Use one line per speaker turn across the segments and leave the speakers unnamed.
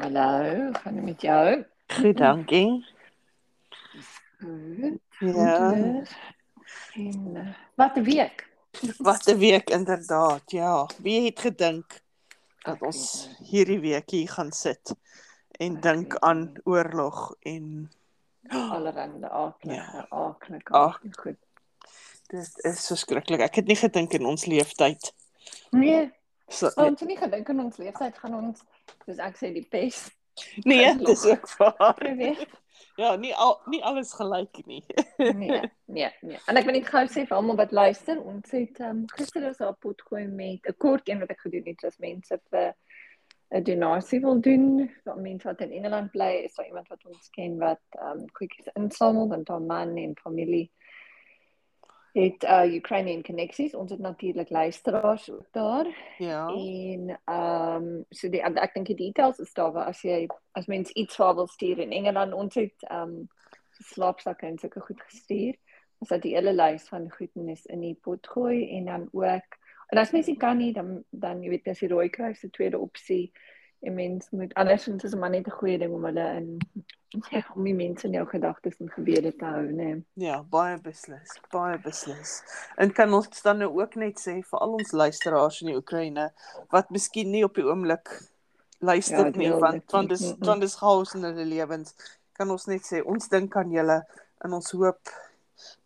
Hallo, gaan dit met jou?
Goed, dankie.
Goed.
Ja,
goed. En uh, wat 'n week.
wat 'n week inderdaad. Ja, wie het gedink dat ons hierdie week hier gaan sit en dink aan oorlog en
Oh. allerhande aaklige,
Ja.
aaklige,
Ag.
aaklige goed.
dit is verskriklik. Ek het nie gedink in ons lewenstyd.
Nee,
So,
ons het nie gedink in ons lewenstyd gaan ons soos ek sê die pes
nee, dis ook waar.
beweeg.
Ja, nie al nie alles gelyk nie.
Nee, nee, nee. En ek wil net gou sê vir almal wat luister, ons het um, gister ons op pot gooi met 'n kort een wat ek gedoen het, as mense vir 'n donasie wil doen, vir mense wat in Engeland bly, is daar iemand wat ons ken wat um goedjies insamel, want haar man en familie het uh Ukrainian connecties. Ons het natuurlik luisteraars ook daar
Ja.
en ehm um, so die ek ek dink die details is daar waar as jy as mens iets vir haar wil stuur in Engeland ons het ehm um, slaapsakke en sulke goed gestuur. Ons het die hele lys van goedenis in die pot gooi en dan ook en as mens nie kan nie dan dan jy weet dis die rooi kruis se tweede opsie. En mens moet andersins is dit maar net 'n goeie ding om hulle in om die mense in jou gedagtes en gebede te hou, né? Nee.
Ja, baie beslis, baie beslis. En kan ons dan nou ook net sê vir al ons luisteraars in die Oekraïne wat miskien nie op die oomblik luister
Ja,
ja, nie
deel
want
dit
want
nie,
dis
mm, mm.
want dis chaos in hulle lewens, kan ons net sê ons dink aan julle en ons hoop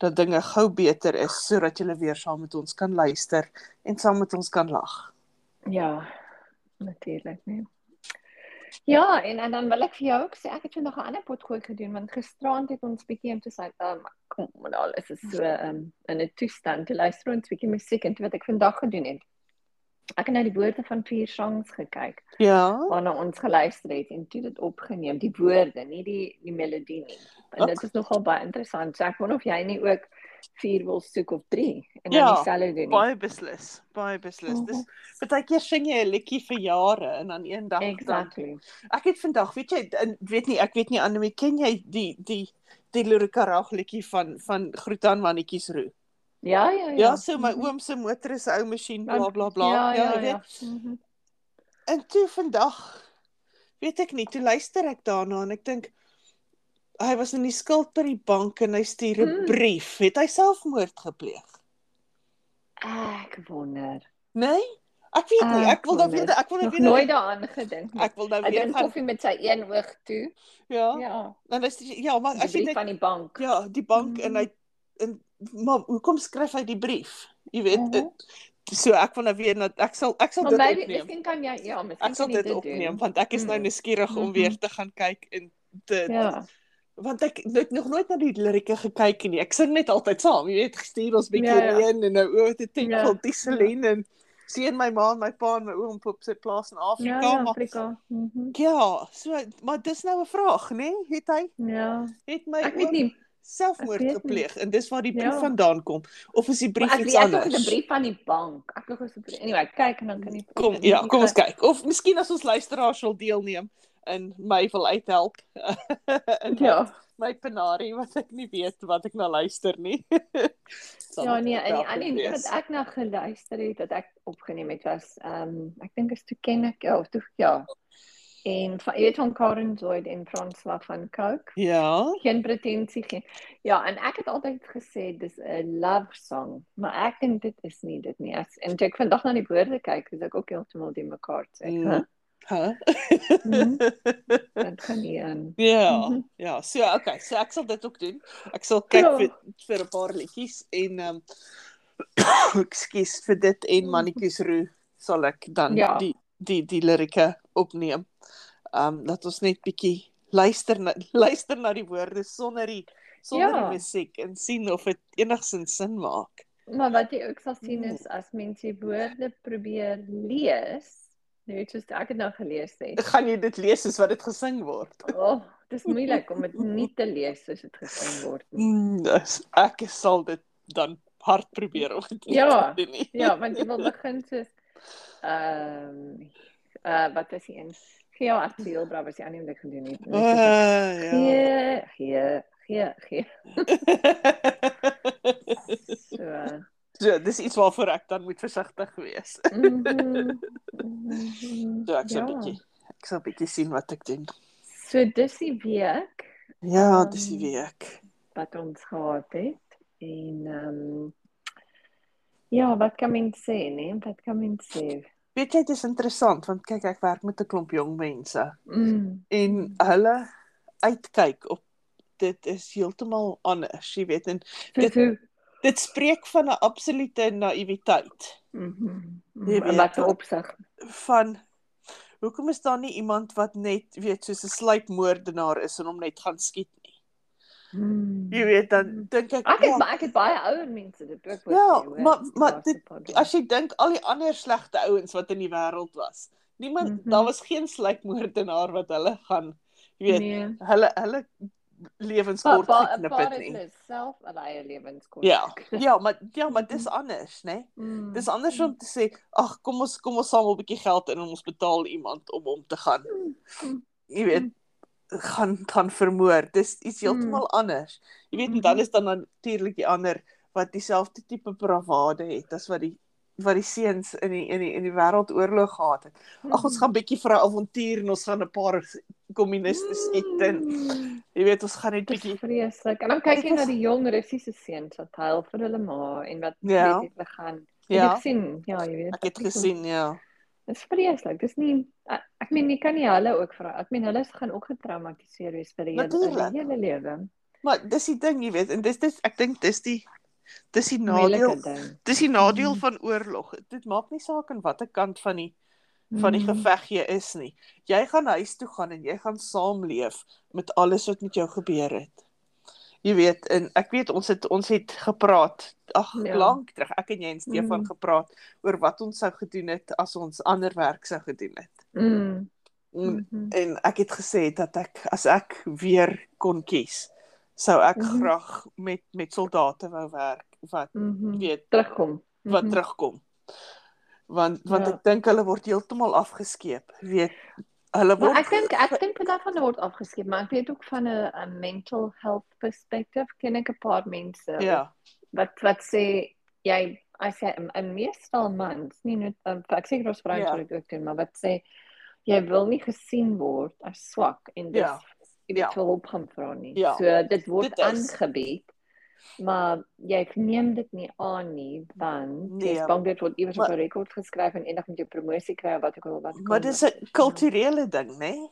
dat dinge gou beter is sodat julle weer saam met ons kan luister en saam met ons kan lag.
Ja, natuurlik, nee. Ja, en en dan wil ek vir jou ook sê ek het vandag 'n ander potgooi gedoen want gisteraand het ons bietjie om te sê, um, kom, maar al is dit so um, in 'n toestand te luister ons bietjie musiek en toe wat ek vandag gedoen het. Ek het na die woorde van vier songs gekyk
Ja.
waarna ons geluister het en toe dit opgeneem, die woorde, nie die die melodie nie. En dit is nogal baie interessant. So ek wonder of jy nie ook vier wil soek of drie en dan
Ja,
dieselfde doen nie.
Baie beslis, baie beslis. Dis baie keer sing jy 'n liedjie vir jare en dan eendag dan
Exactly.
Ek het vandag, weet jy, in- weet nie, ek weet nie Annelie, ken jy die die die Lurikarag liedjie van van Groetan mannetjies roe?
Ja, ja, ja.
Ja, so my oom se motor is 'n ou masjien, bla bla bla.
Ja, ja,
jy
ja.
weet.
Mhm.
En toe vandag weet ek nie, toe luister ek daarna en ek dink hy was in die skuld by die bank en hy stuur 'n
Mm.
brief. Het hy selfmoord gepleeg?
Ek wonder.
Nee? Ek weet nie,
Ek
ek wil nou
Ah, wonder.
weet, ek wil nou
Nog
weet.
nooit daaraan gedink nie.
Ek wil nou
Hy
weet
doen
gaan.
koffie met sy een oog toe.
Ja.
Ja.
Dan is ja, maar
Die
as jy
brief
dink
van die bank.
Ja, die bank en
Mhm.
hy en maar hoekom skryf hy die brief? Jy weet,
Mhm.
mm -hmm. so ek wil nou weer dat ek sal ek sal
Maar
dit
maybe
opneem.
miskien kan jy ja,
Ek
miskien
sal
kan
dit
jy dit
opneem
doen.
want ek is nou
Mm.
nuuskierig om
Mhm.
weer te gaan kyk en dit
Ja.
want ek het nog nooit na die lirieke gekyk nie. Ek sing net altyd saam. Jy weet, gestuur ons bietjie
Ja, ja.
reën en nou oor te tinkel
Ja.
dieselin en seën my ma en my pa en my oom op sy plaas in
Ja,
Afrika.
ja,
maar,
Afrika. Mhm.
ja, so maar dis nou 'n vraag, né? Nee? Het hy
Ja.
het my
Ek
oom-
weet nie.
selfmoord
Ek weet nie.
gepleeg en dis waar die brief
Ja.
ja. vandaan kom of is die
maar
brief
Ek
iets
weet ek het
anders?
'n brief van die bank. Ek het gesoek. Anyway, kyk en dan kan jy
Kom ja, kom ons kyk of miskien as ons luisteraars wil deelneem en my wil uithelp in ja.
Ja.
my penarie wat ek nie weet wat ek na luister nie. Sal
Ja
dit
nee, en die
wel
ander
goed
een
wees.
wat ek nou geluister het wat ek opgeneem het was ehm um, ek dink is toe ken ek ja, of toe ja. En van, jy weet van Karen Zoid en François van Cooke.
Ja,
Geen pretensie geen. Ja, en ek het altyd gesê dis 'n love song, maar ek dink dit is nie dit nie. As, en toe ek vandag na die woorde kyk, is ek ook heeltemal die mekaar sê.
Mm.
Mm.
huh?
Mm. Dit gaan nie aan.
Ja,
Mhm.
ja, so okay, so ek sal dit ook doen. Ek sal kyk
Ja.
vir vir 'n paar liedjies en ehm um, ekskuus vir dit en mannetjies roe sal ek dan
Ja.
die die die lirieke opneem. Ehm um, laat ons net bietjie luister na, luister na die woorde sonder die sonder ja.
Ja.
die musiek en sien of dit enigsins sin maak.
Maar wat jy ook sal sien
Mm.
is as mense die woorde probeer lees, net soos ek dit nou gelees het.
Gaan jy dit lees soos wat dit gesing word?
Oh, dis moeilik om dit nie te lees soos dit gesing word nie.
Mm, dis, ek sal dit dan hard probeer om dit nie
Ja.
te doen nie.
Ja, want jy wil begin soos ehm um, uh wat was die een? Geo Artiel Bra was die ander een wat ek gedoen het. En dit is
Uh,
soos,
ja.
Gee, gee, gee, gee. Nee. So.
so, dis iets waarvoor
mhm,
ek dan moet versigtig wees.
Mm -hmm, mm -hmm,
So ek so 'n bietjie ek Ek sal bietjie sien wat ek doen.
So dis die week
Ja, dis
Ehm,
die week.
wat ons gehad het en ehm um, ja, wat kan mens sê, nee? Wat kan mens sê?
Weet jy, dit is interessant want kyk ek werk met 'n klomp jong mense
Mm.
en hulle uitkyk op dit is heeltemal anders, jy weet en
Dit hoe
dit spreek van 'n absolute naïwiteit
Mhm.
Jy
Mm
weet,
wat
wat-
opsig.
van hoekom is daar nie iemand wat net weet soos 'n sluipmoordenaar is en hom net gaan skiet nie.
Mm.
Jy weet dan dink ek
Ek het
ja,
maar ek het baie ouer mense dit ook
Ja,
sê, hoor,
maar-
in die
maar
laaste
dit-
paar dae.
as jy dink al die ander slegte ouens wat in die wêreld was. Niemand mm
Mhm.
-hmm. daar was geen sluipmoordenaar wat hulle gaan jy weet
nee.
hulle hulle lewens
Maar
kort
pa,
geknip
paar
het
het
nie.
hulle self al eie lewens kon.
Ja. Ja, maar ja, maar
Mhm.
dis anders, né? Nee?
Mm.
Dis anders om te sê, ag, kom ons kom ons samel 'n bietjie geld in en ons betaal iemand om hom te gaan.
Mm.
Jy weet, gaan gaan vermoor. Dis iets heeltemal anders. Jy weet, en dan
Mm. Mhm.
is dan natuurlik die ander wat dieselfde tipe bravade het as wat die wat die seuns in die in die in die wêreldoorlog gehad het.
Hmm.
Ag,
Mm.
ons gaan bietjie vir 'n avontuur en ons gaan 'n paar kommuniste skiet en
Mm.
jy weet, ons gaan net
Dit is
bietjie
vreeslik. En dan kyk
Dit
jy na
is-
die jong Russiese seuns wat huil vir hulle ma en wat
Ja.
weet het hulle gaan. Jy
ja,
het gesien. Ja, jy weet.
ek het
dit is-
gesien, ja.
Dit is vreeslik. Dis nie ek, ek meen jy kan nie hulle ook vra. Ek meen hulle is gaan ook getraumatiseer wees vir die hele vir
Natuurlijk.
die hele lewe.
Maar dis die ding, jy weet, en dis dis ek dink dis die dis die nadeel
Moeilike ding.
Dis die nadeel
Mhm.
van oorlog. Dit maak nie saak aan watter kant van die van die
Mm.
geveg jy is nie. Jy gaan huis toe gaan en jy gaan saamleef met alles wat met jou gebeur het. Jy weet, en ek weet ons het ons het gepraat, ag
Ja.
ja. lank terug, ek en jy en Stefan
Mhm.
mm. gepraat oor wat ons sou gedoen het as ons ander werk sou gedoen het.
Mm.
En,
Mhm.
en ek het gesê dat ek as ek weer kon kies, sou ek
Mhm.
mm. graag met met soldate wou werk wat
Mhm.
weet
Terugkom.
wat
Mhm.
terugkom. Want want
Ja.
ja. ek dink hulle word heeltemal afgeskeep, weet.
Maar
Hulle word
ek dink ek dink dit daarvan word afgeskep, maar ek weet ook van 'n 'n mental health perspective ken ek 'n paar mense
ja,
wat wat sê jy as jy in- in meestal mans, nie net um, ek seker ons vrouens
Ja.
sal dit ook doen, maar wat sê jy wil nie gesien word as swak en dis
Ja.
jy weet
Ja.
vir hulp gaan vra nie.
Ja.
So dit word
Dit is.
aangebied. Maar jy neem dit nie aan nie want nee.
Nee.
jy's bang dit word iewers op
Maar-
'n rekord geskryf en eendag moet jy promosie kry of wat ook al wat ook
maar
al,
dis 'n kulturele ding, né? Nee?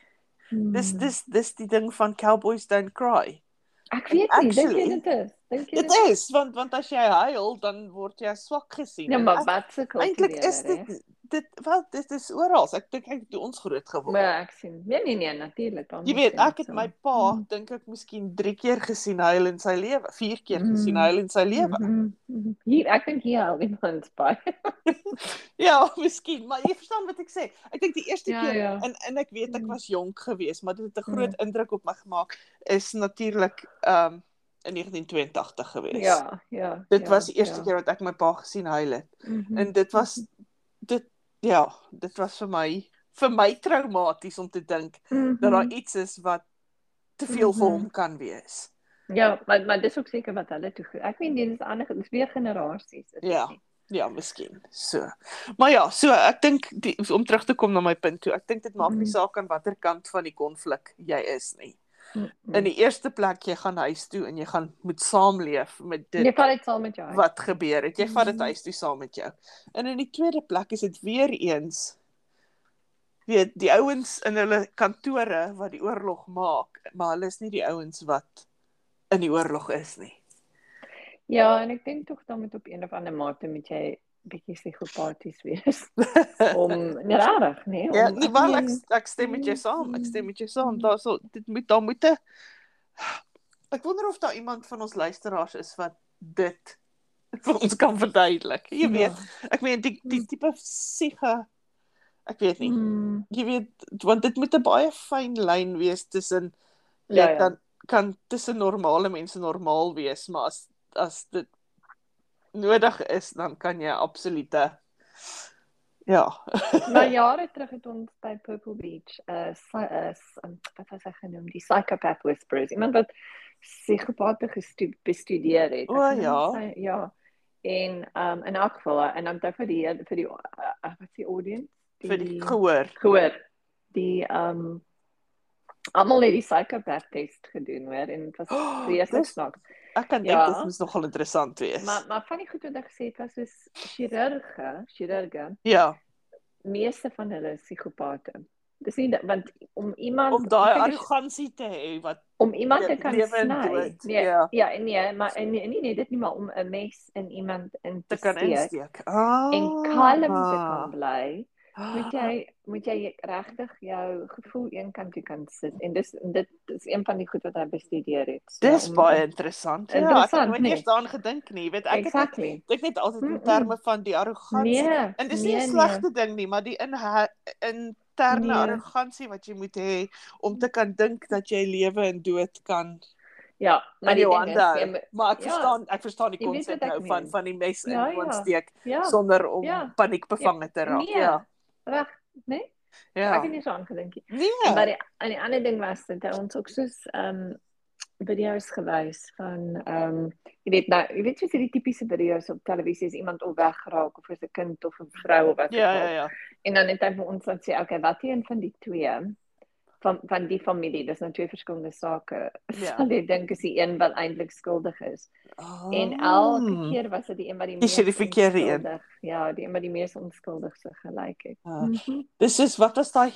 Dis
Hmm.
dis dis die ding van cowboys don't cry.
Ek weet nie, dink jy
Actually,
dit is? Dink jy
Dit
dit is?
is want want as jy huil dan word jy as swak gesien.
Ja,
En
maar
ek-
wat se kultuur
eintlik is dit dit wel dit is oral. Ek dink ek het ons groot geword.
Maar ek sien. Nee nee nee, natuurlik. dan
Jy
moet
weet, ek het
so.
my pa
Mm.
dink ek miskien 3 keer gesien huil in sy lewe, 4 keer
Mm.
gesien huil in sy lewe.
Mhm, mhm. Hier, ek dink hier al iemand by.
Ja, miskien, maar jy verstaan wat ek sê. Ek dink die eerste
Ja,
keer
ja.
en en ek weet ek
Mm.
was jonk geweest, maar dit het 'n
Mm.
groot indruk op my gemaak is natuurlik ehm um, in 1982 gewees.
Ja, ja.
Dit
ja,
was die eerste
ja.
keer wat ek my pa gesien huil het.
Mhm.
En dit was dit ja, dit was vir my vir my traumaties om te dink
Mhm.
dat daar iets is wat te veel vir
Mhm.
hom kan wees.
Ja, maar maar dis ook seker wat hulle toe. ge- Ek meen dit is ander, dis weer generasies. is dit
Ja.
nie?
Ja, miskien. So. Maar ja, so ek dink die- om terug te kom na my punt toe, ek dink dit maak nie
Mhm.
saak aan watter kant van die konflik jy is nie.
Mhm.
In die eerste plek jy gaan huis toe en jy gaan moet saamleef met
Jy
dit
vat dit saam met jou. uit.
wat gebeur het. Jy vat dit
Mhm.
huis toe saam met jou. En in die tweede plek is dit weer eens weet die ouens in hulle kantore wat die oorlog maak, maar hulle is nie die ouens wat in die oorlog is nie.
Ja, en ek dink tog dan moet op een of ander mate moet jy bietjie psigopaties wees om nee, regtig, nee, om
Ja, nee,
ek
maar ek
meen-
ek stem met jou saam. Ek
Mm.
stem met jou saam. Daarso dit moet daar moet 'n Ek wonder of daar iemand van ons luisteraars is wat dit vir ons kan verduidelik.
Ja.
Jy weet, ek meen die die tipe siege ek weet
Ja.
nie.
Mm.
Jy weet want dit moet 'n baie fyn lyn wees tussen jy
Ja, ja.
weet, dan kan tussen normale mense normaal wees, maar as as dit nodig is, dan kan jy absolute ja,
Maar jare terug het ons by Purple Beach 'n uh, uh, wat was hy genoem, die psychopath whisperers, iemand wat psigopate gestu- bestudeer het. Ek
O,
weet nie
ja.
of hy- Ja. En um in elk eh, geval en dan vir die vir die uh, uh, wat se audience
vir die gehoor.
gehoor. die ehm um, almal het die psychopath test gedoen hoor en dit was
Oh,
vreeslik
dis-
snaaks.
Ek kan dink
Ja.
dit moes nogal interessant wees.
Maar maar van die goed wat ek gesê het was soos chirurge, chirurge,
ja,
meeste van hulle is psigopate. Dis nie dat, want om iemand
om daai
kyk,
arrogansie te hê wat
om iemand te
le-
kan
lewe en
sny.
dood,
Nee,
ja.
ja, ja nee, maar en, en nie net dit nie, maar om 'n mes in iemand in te,
te kan
steek
insteek. Ah.
en kalm te kan bly.
Ah.
moet jy moet jy regtig jou gevoel een kant toe kan sit en dis en dit is een van die goed wat hy bestudeer het. So,
Dis
om-
baie interessant. Ja, ek het
Ehm, Interessant,
nooit
nee.
eers daaraan gedink nie. Jy weet ek het
exactly.
dink net altyd in
Mm-mm.
terme van die arrogansie.
Nee.
En dis nie
nee,
'n slegte ding nie, maar die inhe- interne
Nee.
arrogansie wat jy moet hê om te kan dink dat jy lewe en dood kan.
Nee. Ja, maar
in
die
jou
ding
hande
is
hou.
jy moet-
Maar ek
Ja.
verstaan, ek verstaan die
Jy weet
konsep
wat ek
nou van
meen.
van die mes in
Ja,
ja,
ja.
ja. steek
ja,
sonder om
Ja.
ja. paniek bevange te raak.
nee.
Ja.
reg, nee. Ja. Ek
Ja.
het nie so aangedink nie.
Nee.
Maar die, en die ander ding was dat hy ons ook soos ehm um, video's gewys van ehm um, jy weet nou, jy weet soos hierdie tipiese video's op televisie as iemand of weggeraak of as 'n kind of 'n vrou of wat ook
Ja,
al.
ja, ja.
En dan het hy vir ons laat sê, okay, wat een van die twee van van die familie, dis nou twee verskillende sake.
Ja.
Sal jy dink is die een wat eintlik skuldig is.
Oh.
En elke keer was dit die een wat die
Dis
mees
die verkeerde een.
onskuldig- Ja, die een wat die mees onskuldig se gelyk het.
Ah.
Mm
Dis is wat was daai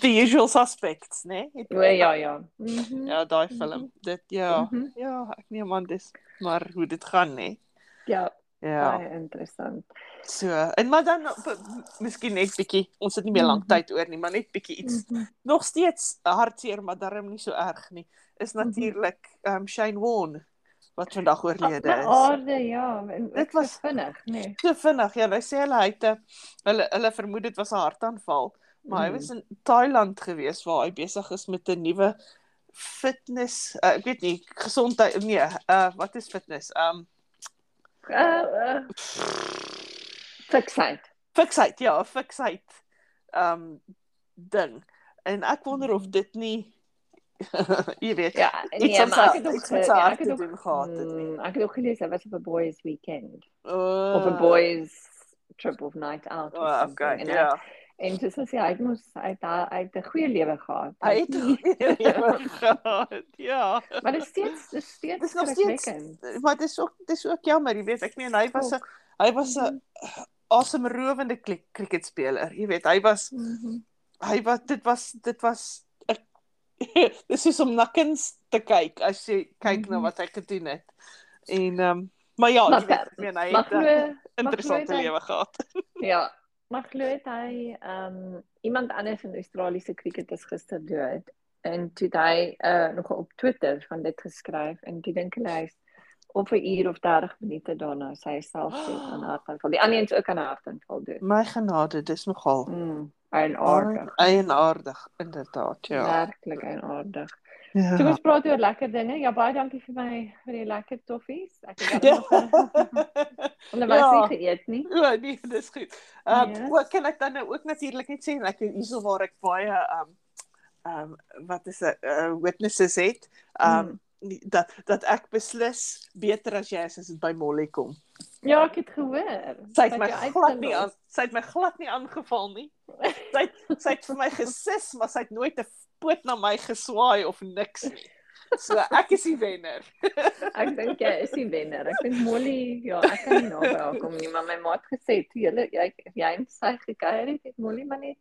the usual suspects, né? Nee?
O ja, ja. Mm -hmm.
Ja, daai film. Dit ja.
Mhm.
Ja, ek neem aan dis maar hoe dit gaan, né? Nee?
Ja,
Ja.
baie interessant.
So, en maar dan b- miskien net bietjie. Ons het nie meer lank
Mhm.
tyd oor nie, maar net bietjie iets nog steeds hartseer, maar darm nie so erg nie. Is natuurlik ehm um, Shane Warne wat vandag oorlede
Maar
is.
aarde, ja, en
Dit
dit was
was-
vinnig, nee.
So vinnig. Ja, nou sê hulle hy het 'n- hulle hulle vermoed dit was 'n hartaanval, maar hy
Mm.
was in Thailand gewees waar hy besig is met 'n nuwe fitness, uh, ek weet nie, gesondheid nee, uh wat is fitness? Um
Uh, uh, fiksheid.
fiksheid, ja, 'n fiksheid um ding. En ek wonder of dit nie jy weet
Ja,
iets
nee,
aan
maar
sy
ek het ook
iets
ge-
met sy
ja,
hart
ek het
te
ook
doen gehad het nie.
Mm, ek het ook gelees hy was op 'n boys weekend
Uh,
of 'n boys trip of night out. or
Oh,
something.
okay,
en
ja.
hy, en soos as hy uit moes uit uit 'n goeie lewe gehad.
Hy het
nie-
lewe gehad. Ja.
maar dit is steeds dis steeds
Dis nog steeds-
skrikwekkend.
maar dis ook dis ook jammer, jy weet, ek meen hy
Oh.
was 'n hy was 'n asemrowende klik- cricketspeler. Jy weet, hy was
Mhm.
hy was dit was dit was 'n- dis soos om na kuns te kyk as jy kyk na
Mhm.
wat hy gedoen het. En ehm um, maar ja,
Maar
jy weet,
ka-
ek meen hy
Maar
het 'n
glo
interessante
glo jy-
lewe gehad.
ja, maar glo het hy ehm iemand anders in Australiese cricket is gister dood en toe het hy uh, nog op Twitter van dit geskryf en toe dink hulle hy is op 'n uur of 30 minute daarna is hy self dood aan 'n hartaanval. Die ander een is ook aan 'n hartaanval dood.
My genade, dis nogal
Mm, eienaardig.
eienaardig inderdaad, Oh. ja.
Werklik eienaardig.
Ja.
Kom ons praat oor lekker dinge. Ja, baie dankie vir my vir die lekker toffies. Ek het
Ja.
hulle was
Ja.
nie geëet nie.
O nee, dis goed. Ehm um,
Yes.
yes. ook kan ek dan nou ook natuurlik net sê en ek hierso waar ek baie ehm um, ehm um, wat is 'n uh, witnesses het. Ehm um, mm. dat dat ek beslis beter as jy is as dit by Molly kom.
Ja, ek het gehoor.
Sy het
Wat
my
jy
glad nie
uitgelos.
aan sy het my glad nie aangeval nie. Sy het, sy het vir my gesis, maar sy het nooit 'n poot na my geswaai of niks nie. So ek is die wenner.
Ek dink jy is die wenner. Ek dink Molly, ja, ek kan nie naby haar kom nie, maar my maat gesê toe jy jy jy en sy gekuier het, het Molly maar net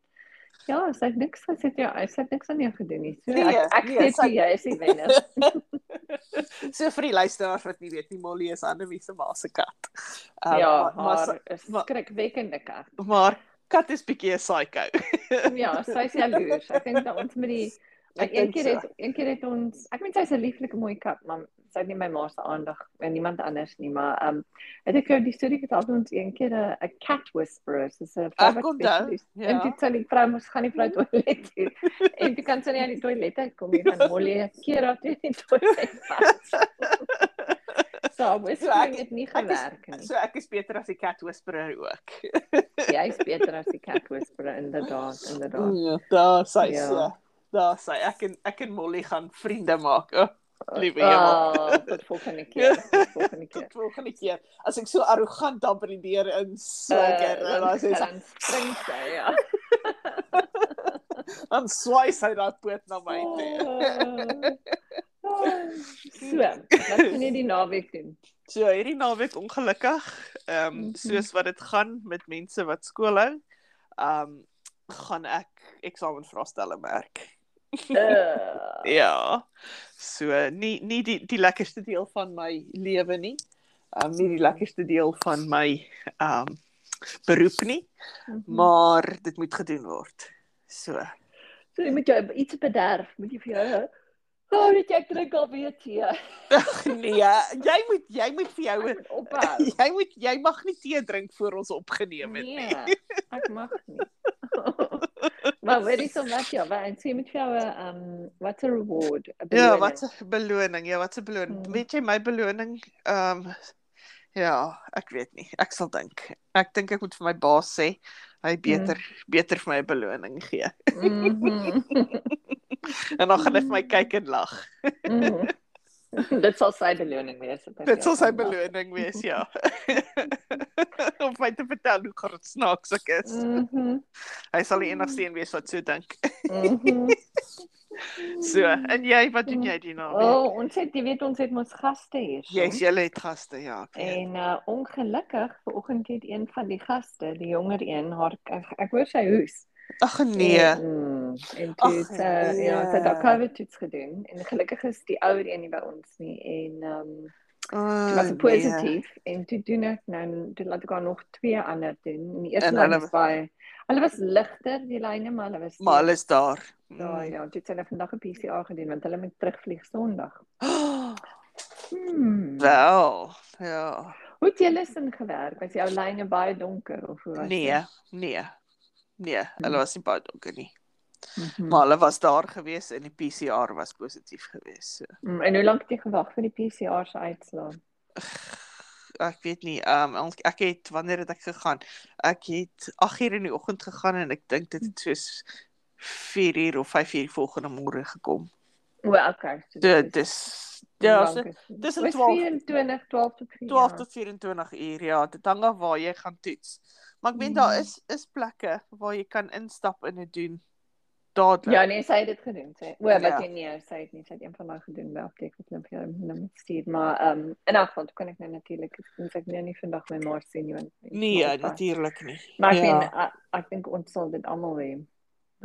ja, sy het niks gesê toe jy sy het niks aan jou gedoen nie. So
Nee,
ek ek
nee,
sê
sy-
toe jy is die wenner.
So vir die luisteraars wat nie weet nie, Molly is Annelie se ma se kat. Ehm,
Ja,
maar- maar sy-
maar is
maar-
skrikwekkende kat.
maar kat is bietjie 'n psycho.
Ja, sy's jaloers. Ek dink dat ons met die
Ek
Ek een
dink
keer
so.
het een keer het ons ek meen sy's 'n lieflike mooi kat, maar sy het nie my ma se aandag en niemand anders nie, maar ehm um, het ek jou die storie vertel toe ons een keer 'n 'n cat whisperer, soos 'n
Ek
private
onthou.
specialist. En
Ja.
dit sal die vrou mos gaan die vrou toilet toe. En dit kan sy nie aan die toilet uitkom nie, dan mol jy 'n keer op die toilet. vas. So, whispering
ek-
het nie
ek is-
gewerk nie.
So ek is beter as die cat whisperer ook.
Jy's beter as die cat whisperer inderdaad, inderdaad.
Ja, daar sy
Ja.
so. Daar sy ek en ek en Molly gaan vriende maak. Oh, liewe hemel.
Ja, tot volgende keer, tot volgende keer.
Tot volgende keer. As ek so arrogant daar by die deur in swagger,
Eh,
dan sê sy
dan spring sy, ja.
dan swaai sy daai poot na my
Oh.
toe.
Ah. Ah. So, wat kan jy die naweek doen?
So hierdie naweek ongelukkig, ehm um,
Mhm.
soos wat dit gaan met mense wat skool hou, ehm um, gaan ek eksamenvraestelle merk.
Uh,
Ja. So nie nie die die lekkerste deel van my lewe nie. Ehm um, nie die lekkerste deel van my ehm um, beroep nie,
mhm.
maar dit moet gedoen word. So.
so jy moet jou iets bederf, moet jy vir jou Oh, weet jy ek drink al weer tee.
Ag nee, jy moet jy moet vir jou
Ek moet ophou.
jy moet jy mag nie tee drink voor ons opgeneem het nie.
Nee, ek mag nie. maar weet jy so wat ja, want sê met jou 'n um wat 'n reward. 'n
Ja,
beloning.
wat 'n beloning. Ja, wat 'n beloning.
Mm.
Weet jy my beloning? Ehm um, ja, ek weet nie. Ek sal dink. Ek dink ek moet vir my baas sê hy beter mm. beter vir my 'n beloning gee.
Mhm,
En dan gaan hy vir my kyk en lag.
mhm. Dit sal sy beloning wees. wat ek
Dit sal
jou
sy
kan maak.
beloning wees, ja. Om my te vertel hoe groot snaaks ek is.
Mhm,
Hy sal die enigste een wees wat so dink.
mhm.
So, en jy, wat doen jy die naweek?
O, Mhm. oh, ons het jy weet ons het mos gaste hier. so.
Jy's jy het gaste, ja. ek weet.
En uh, ongelukkig vanoggend het een van die gaste, die jonger een, haar ek, ek hoor sy hoes.
Ag nee.
En, mm, en toe
Ag,
het uh, ja, sy het haar
nee.
COVID toets gedoen en gelukkig is die ouer een nie by ons nie en ehm um,
Oh,
was positief nee. en toe doen ek nou toe laat ek haar nog twee ander doen. En die eerste
En
een
hulle-
was baie hulle was ligter die lyne maar hulle was
Maar alles daar.
ja, ja, toe het sy nou vandag 'n PCR gedoen want hulle moet terugvlieg Sondag.
Mm.
Hmm.
Wel, ja.
Hoe het julle sin gewerk? Was jou lyne baie donker of hoe was
Nee, nee. Nee, hulle was nie baie donker nie.
Mhm.
Maar hulle was daar gewees en die PCR was positief gewees. So.
Mm, En hoe lank het jy gewag vir die PCR se uitslae?
Ek weet nie, ehm um, ek het wanneer het ek gegaan? Ek het 8uur in die oggend gegaan en ek dink dit het soos 4uur of 5uur volgende môre gekom.
O, okay. So
So dis ja, so
dis
tussen 12
24 12 tot 4.
12 tot 24 uur ja, dit hang af waar jy gaan toets. Maar ek meen daar
Mm.
is is plekke waar jy kan instap en dit doen dadelik.
Ja, nee, sy het dit gedoen. Sy o, wat
Ja.
jy nie, sy het nie, sy het een van daai gedoen by apteek wat hulle vir jou nou stuur, maar ehm um, in elk geval toe kan ek nou natuurlik ons ek nou nie vandag my ma sien nie want
nee,
maar-
natuurlik nie.
Maar ek
ja.
meen ek, ek dink ons sal dit almal hê.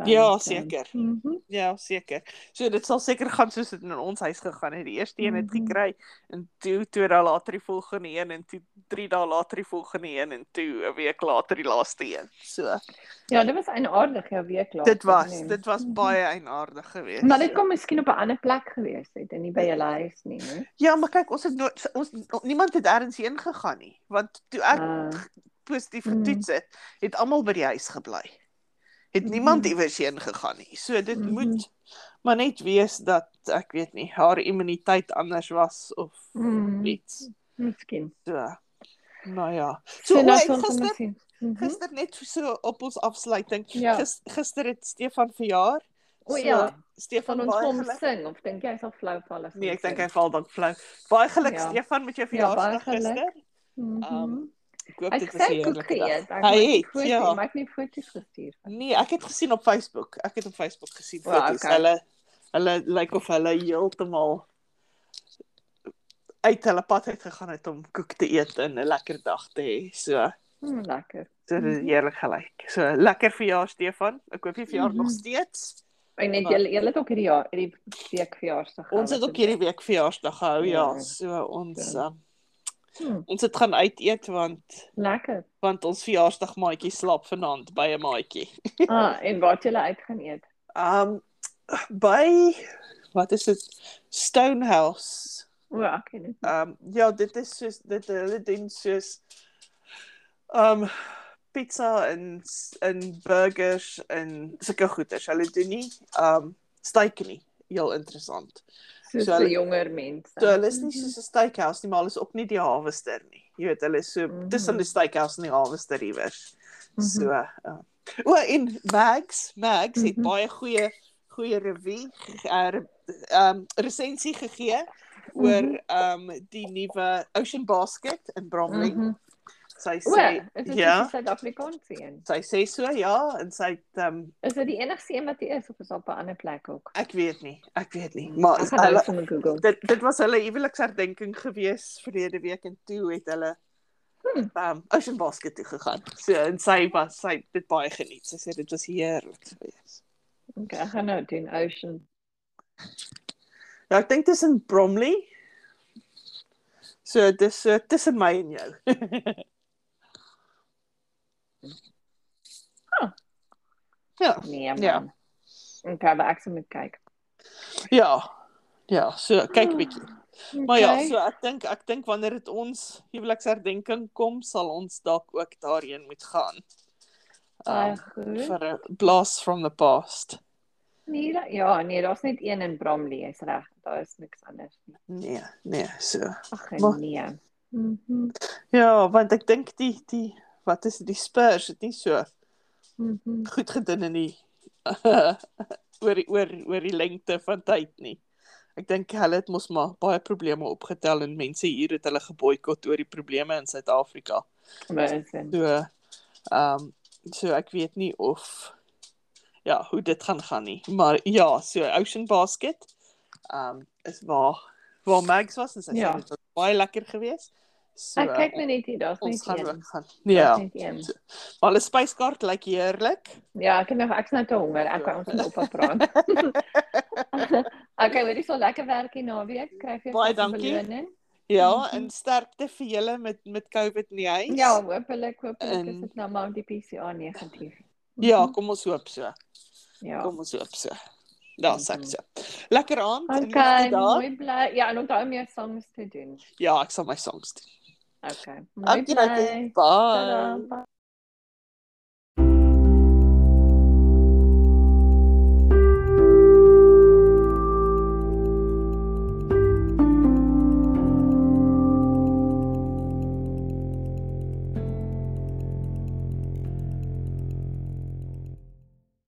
Ja, seker.
Mm -hmm.
Ja, seker. So dit sal seker gaan soos dit in ons huis gegaan het. Die eerste een het
Mhm.
gekry en toe twee dae later die volgende een en toe drie dae later die volgende een en toe 'n week later die laaste een. So
Ja, dit was 'n aardige ja, week lank.
dit was
nee.
dit was
Mhm.
baie eienaardig geweest.
Maar dit kom miskien op 'n ander plek gewees het en nie by jou huis nie, né?
Ja, maar kyk, ons het nooit ons niemand het ergens heen gegaan nie, want toe ek
Ah.
positief
Mm.
getoets het, het almal by die huis gebly. Het
Mhm.
niemand iewers heen gegaan nie. So dit
Mhm.
moet maar net wees dat ek weet nie, haar immuniteit anders was of
Mm.
iets.
Miskien.
So. Nou ja. So,
nou
so
sal ons
gister
sien. Mhm.
gister net so op ons afsluiting.
Ja.
Gis, gister het Stefan verjaar.
O, ja.
Stefan
Van ons
baie
kom
geluk.
sing of dink jy sal flou val as
Nee, ek dink hy val dan flou. Baie geluk
Ja.
ja. Stefan met jou
Ja, baie
verjaarsdag ja, gister. um, Ek hoop
Ek
dit
sê
was 'n
ek
heerlike dag.
het
Hy het, ja.
Hy het nie foto's gestuur nie.
Nee, ek het gesien op Facebook. Ek het op Facebook gesien
O,
foto's.
okay.
Hulle hulle lyk like of hulle heeltemal uit hulle pad uit gegaan het om koek te eet en 'n lekker dag te hê. So,
Hmm, lekker.
so dit is
Mhm.
heerlik gelyk. So, lekker verjaar Stefan. Ek hoop jy verjaar nog
Mhm.
steeds.
En net
Maar-
julle julle het ook hierdie jaar hierdie week verjaarsdag. gehou,
Ons het
wat
ook hierdie week verjaarsdag gehou, ja.
Ja.
So ons
Ja.
um,
Hmm,
ons het gaan uit eet want
lekker.
want ons verjaarsdagmaatjie slaap vanaand by 'n maatjie.
Ah, en wat julle uit gaan eet.
Um by wat is dit? Stonehouse.
O, ek ken dit.
Ehm um, ja, dit is soos dit hulle doen soos ehm um, pizza en s- en burgers en sulke goeders. Hulle doen nie ehm um, steak nie. Heel interessant.
Soos
So hulle-
vir jonger mense.
So hulle is nie
Mm-hmm.
soos 'n steakhouse nie, maar hulle is ook nie die harvester nie. Jy weet, hulle is so
Mhm.
tussen die steakhouse en die harvester iewers.
Mhm.
So uh, o en Max, Max het
Mhm.
baie goeie goeie review ehm um, resensie
Mhm.
gegee oor ehm um, die nuwe Ocean Basket in Bromley. Mm
Mhm.
Sy
O,
sê
is dit
ja.
ja. Suid-Afrikaanse een?
Sy sê so ja en sy het um,
Is dit die enigste een wat hier is of is daar op 'n ander plek ook?
ek weet nie, ek weet nie, maar
Ek
is
gaan nou
hulle
sommer Google.
dit dit was hulle huweliksherdenking gewees verlede week en toe het hulle
Hmm.
um, Ocean Basket toe gegaan. So en sy was sy het dit baie geniet. Sy sê dit was heerlik geweest.
Okay, ek gaan nou doen Ocean.
Ja, ek dink dis in Bromley. So dis so tussen my en jou.
Ah.
Ja,
Nee, man.
Ja.
Okay, maar ek sal moet kyk.
ja. Ja, so kyk bietjie.
Ah, Okay.
Maar ja, so ek dink ek dink wanneer dit ons huweliksherdenking kom, sal ons dalk ook daarheen moet gaan.
baie
Um,
eh, goed.
vir 'n blast from the past.
Nee, da, ja, nee, daar's net een in Bromley, jy's reg. Daar is niks anders nie.
Nee, nee, so.
Ag
Maar-
nee. Mhm.
Ja, want ek dink die die wat is dit, die Spurs het nie so
Mhm.
goed gedoen in die oor die oor oor die lengte van tyd nie. Ek dink hulle het mos maar baie probleme opgetel en mense hier het hulle geboikot oor die probleme in Suid-Afrika.
Maar is dit?
So ehm um, so ek weet nie of ja, hoe dit gaan gaan nie. Maar ja, so Ocean Basket ehm um, is waar waar Mags was en sy
Ja.
ja. sê dit was baie lekker geweest. So
Ek kyk nou net hier, daar's net
eh, ons gaan
een.
ook gaan.
Daar's
Ja,
net een.
maar hulle spyskaart lyk heerlik.
Ja, ek het nog ek's nou te honger.
Ja.
Ek wou ons met oppa praat. okay, hoorie so lekker werk hier naweek. Kry vir
Baie dankie. Ja, mm -hmm. en sterkte vir julle met met COVID in die huis.
Mhm. Ja, hopelik, hopelik is
En-
dit nou maar die PCR negatief.
Ja,
Mhm.
kom ons hoop so.
Ja.
Kom ons hoop so. Daar's ek so. Lekker aand en
Mhm. Okay,
liefde daar.
mooi bly. Ja, en onthou meer songs te doen.
Ja, ek sal my songs doen.
Okay. Mooi
Okay,
bly.
bye. bye.
Tada. Bye.